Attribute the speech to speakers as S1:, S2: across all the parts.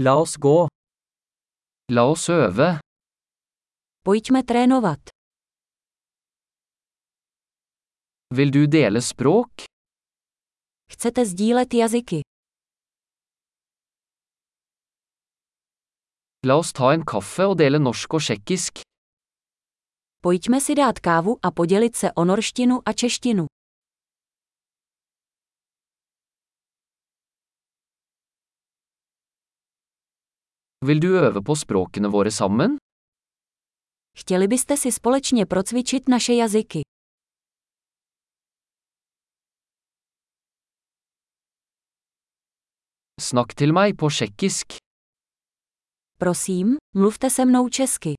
S1: La oss gå. La oss øve.
S2: Pojďme trénovat.
S1: Vil du dele språk?
S2: Chcete sdílet jazyky?
S1: La oss ta en kaffe og dele norsk og tsjekkisk.
S2: Pojďme si dát kávu a podělit se o norštinu a češtinu.
S1: Vil du øve på språkene våre sammen?
S2: Chtěli byste si společně procvičit naše jazyky?
S1: Snakk til meg på tsjekkisk.
S2: Prosím, mluvte se mnou česky.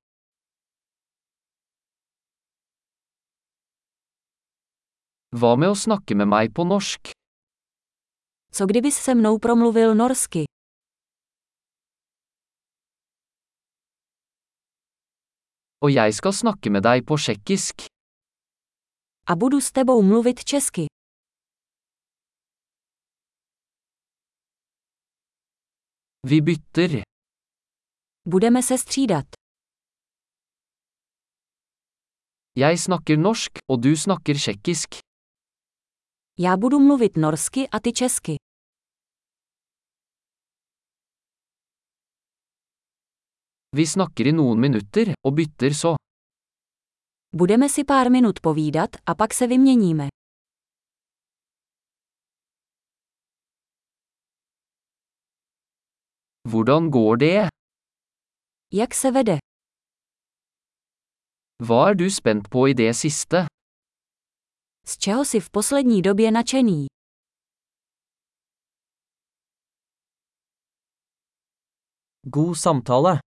S1: Hva med å snakke med meg på norsk?
S2: Co kdybys se mnou promluvil norsky?
S1: Og jeg skal snakke med deg på tsjekkisk.
S2: A budu s tebou mluvit česky.
S1: Vi bytter.
S2: Budeme se střídat.
S1: Jeg snakker norsk, og du snakker tsjekkisk.
S2: Já budu mluvit norsky a ty česky.
S1: Vi snakker i noen minutter, og bytter så.
S2: Budeme si pár minut povídat a pak se vyměníme.
S1: Hvordan går det?
S2: Jak se vede?
S1: Hva er du spent på i det siste?
S2: Z čeho si v poslední době nadšený?
S1: God samtale.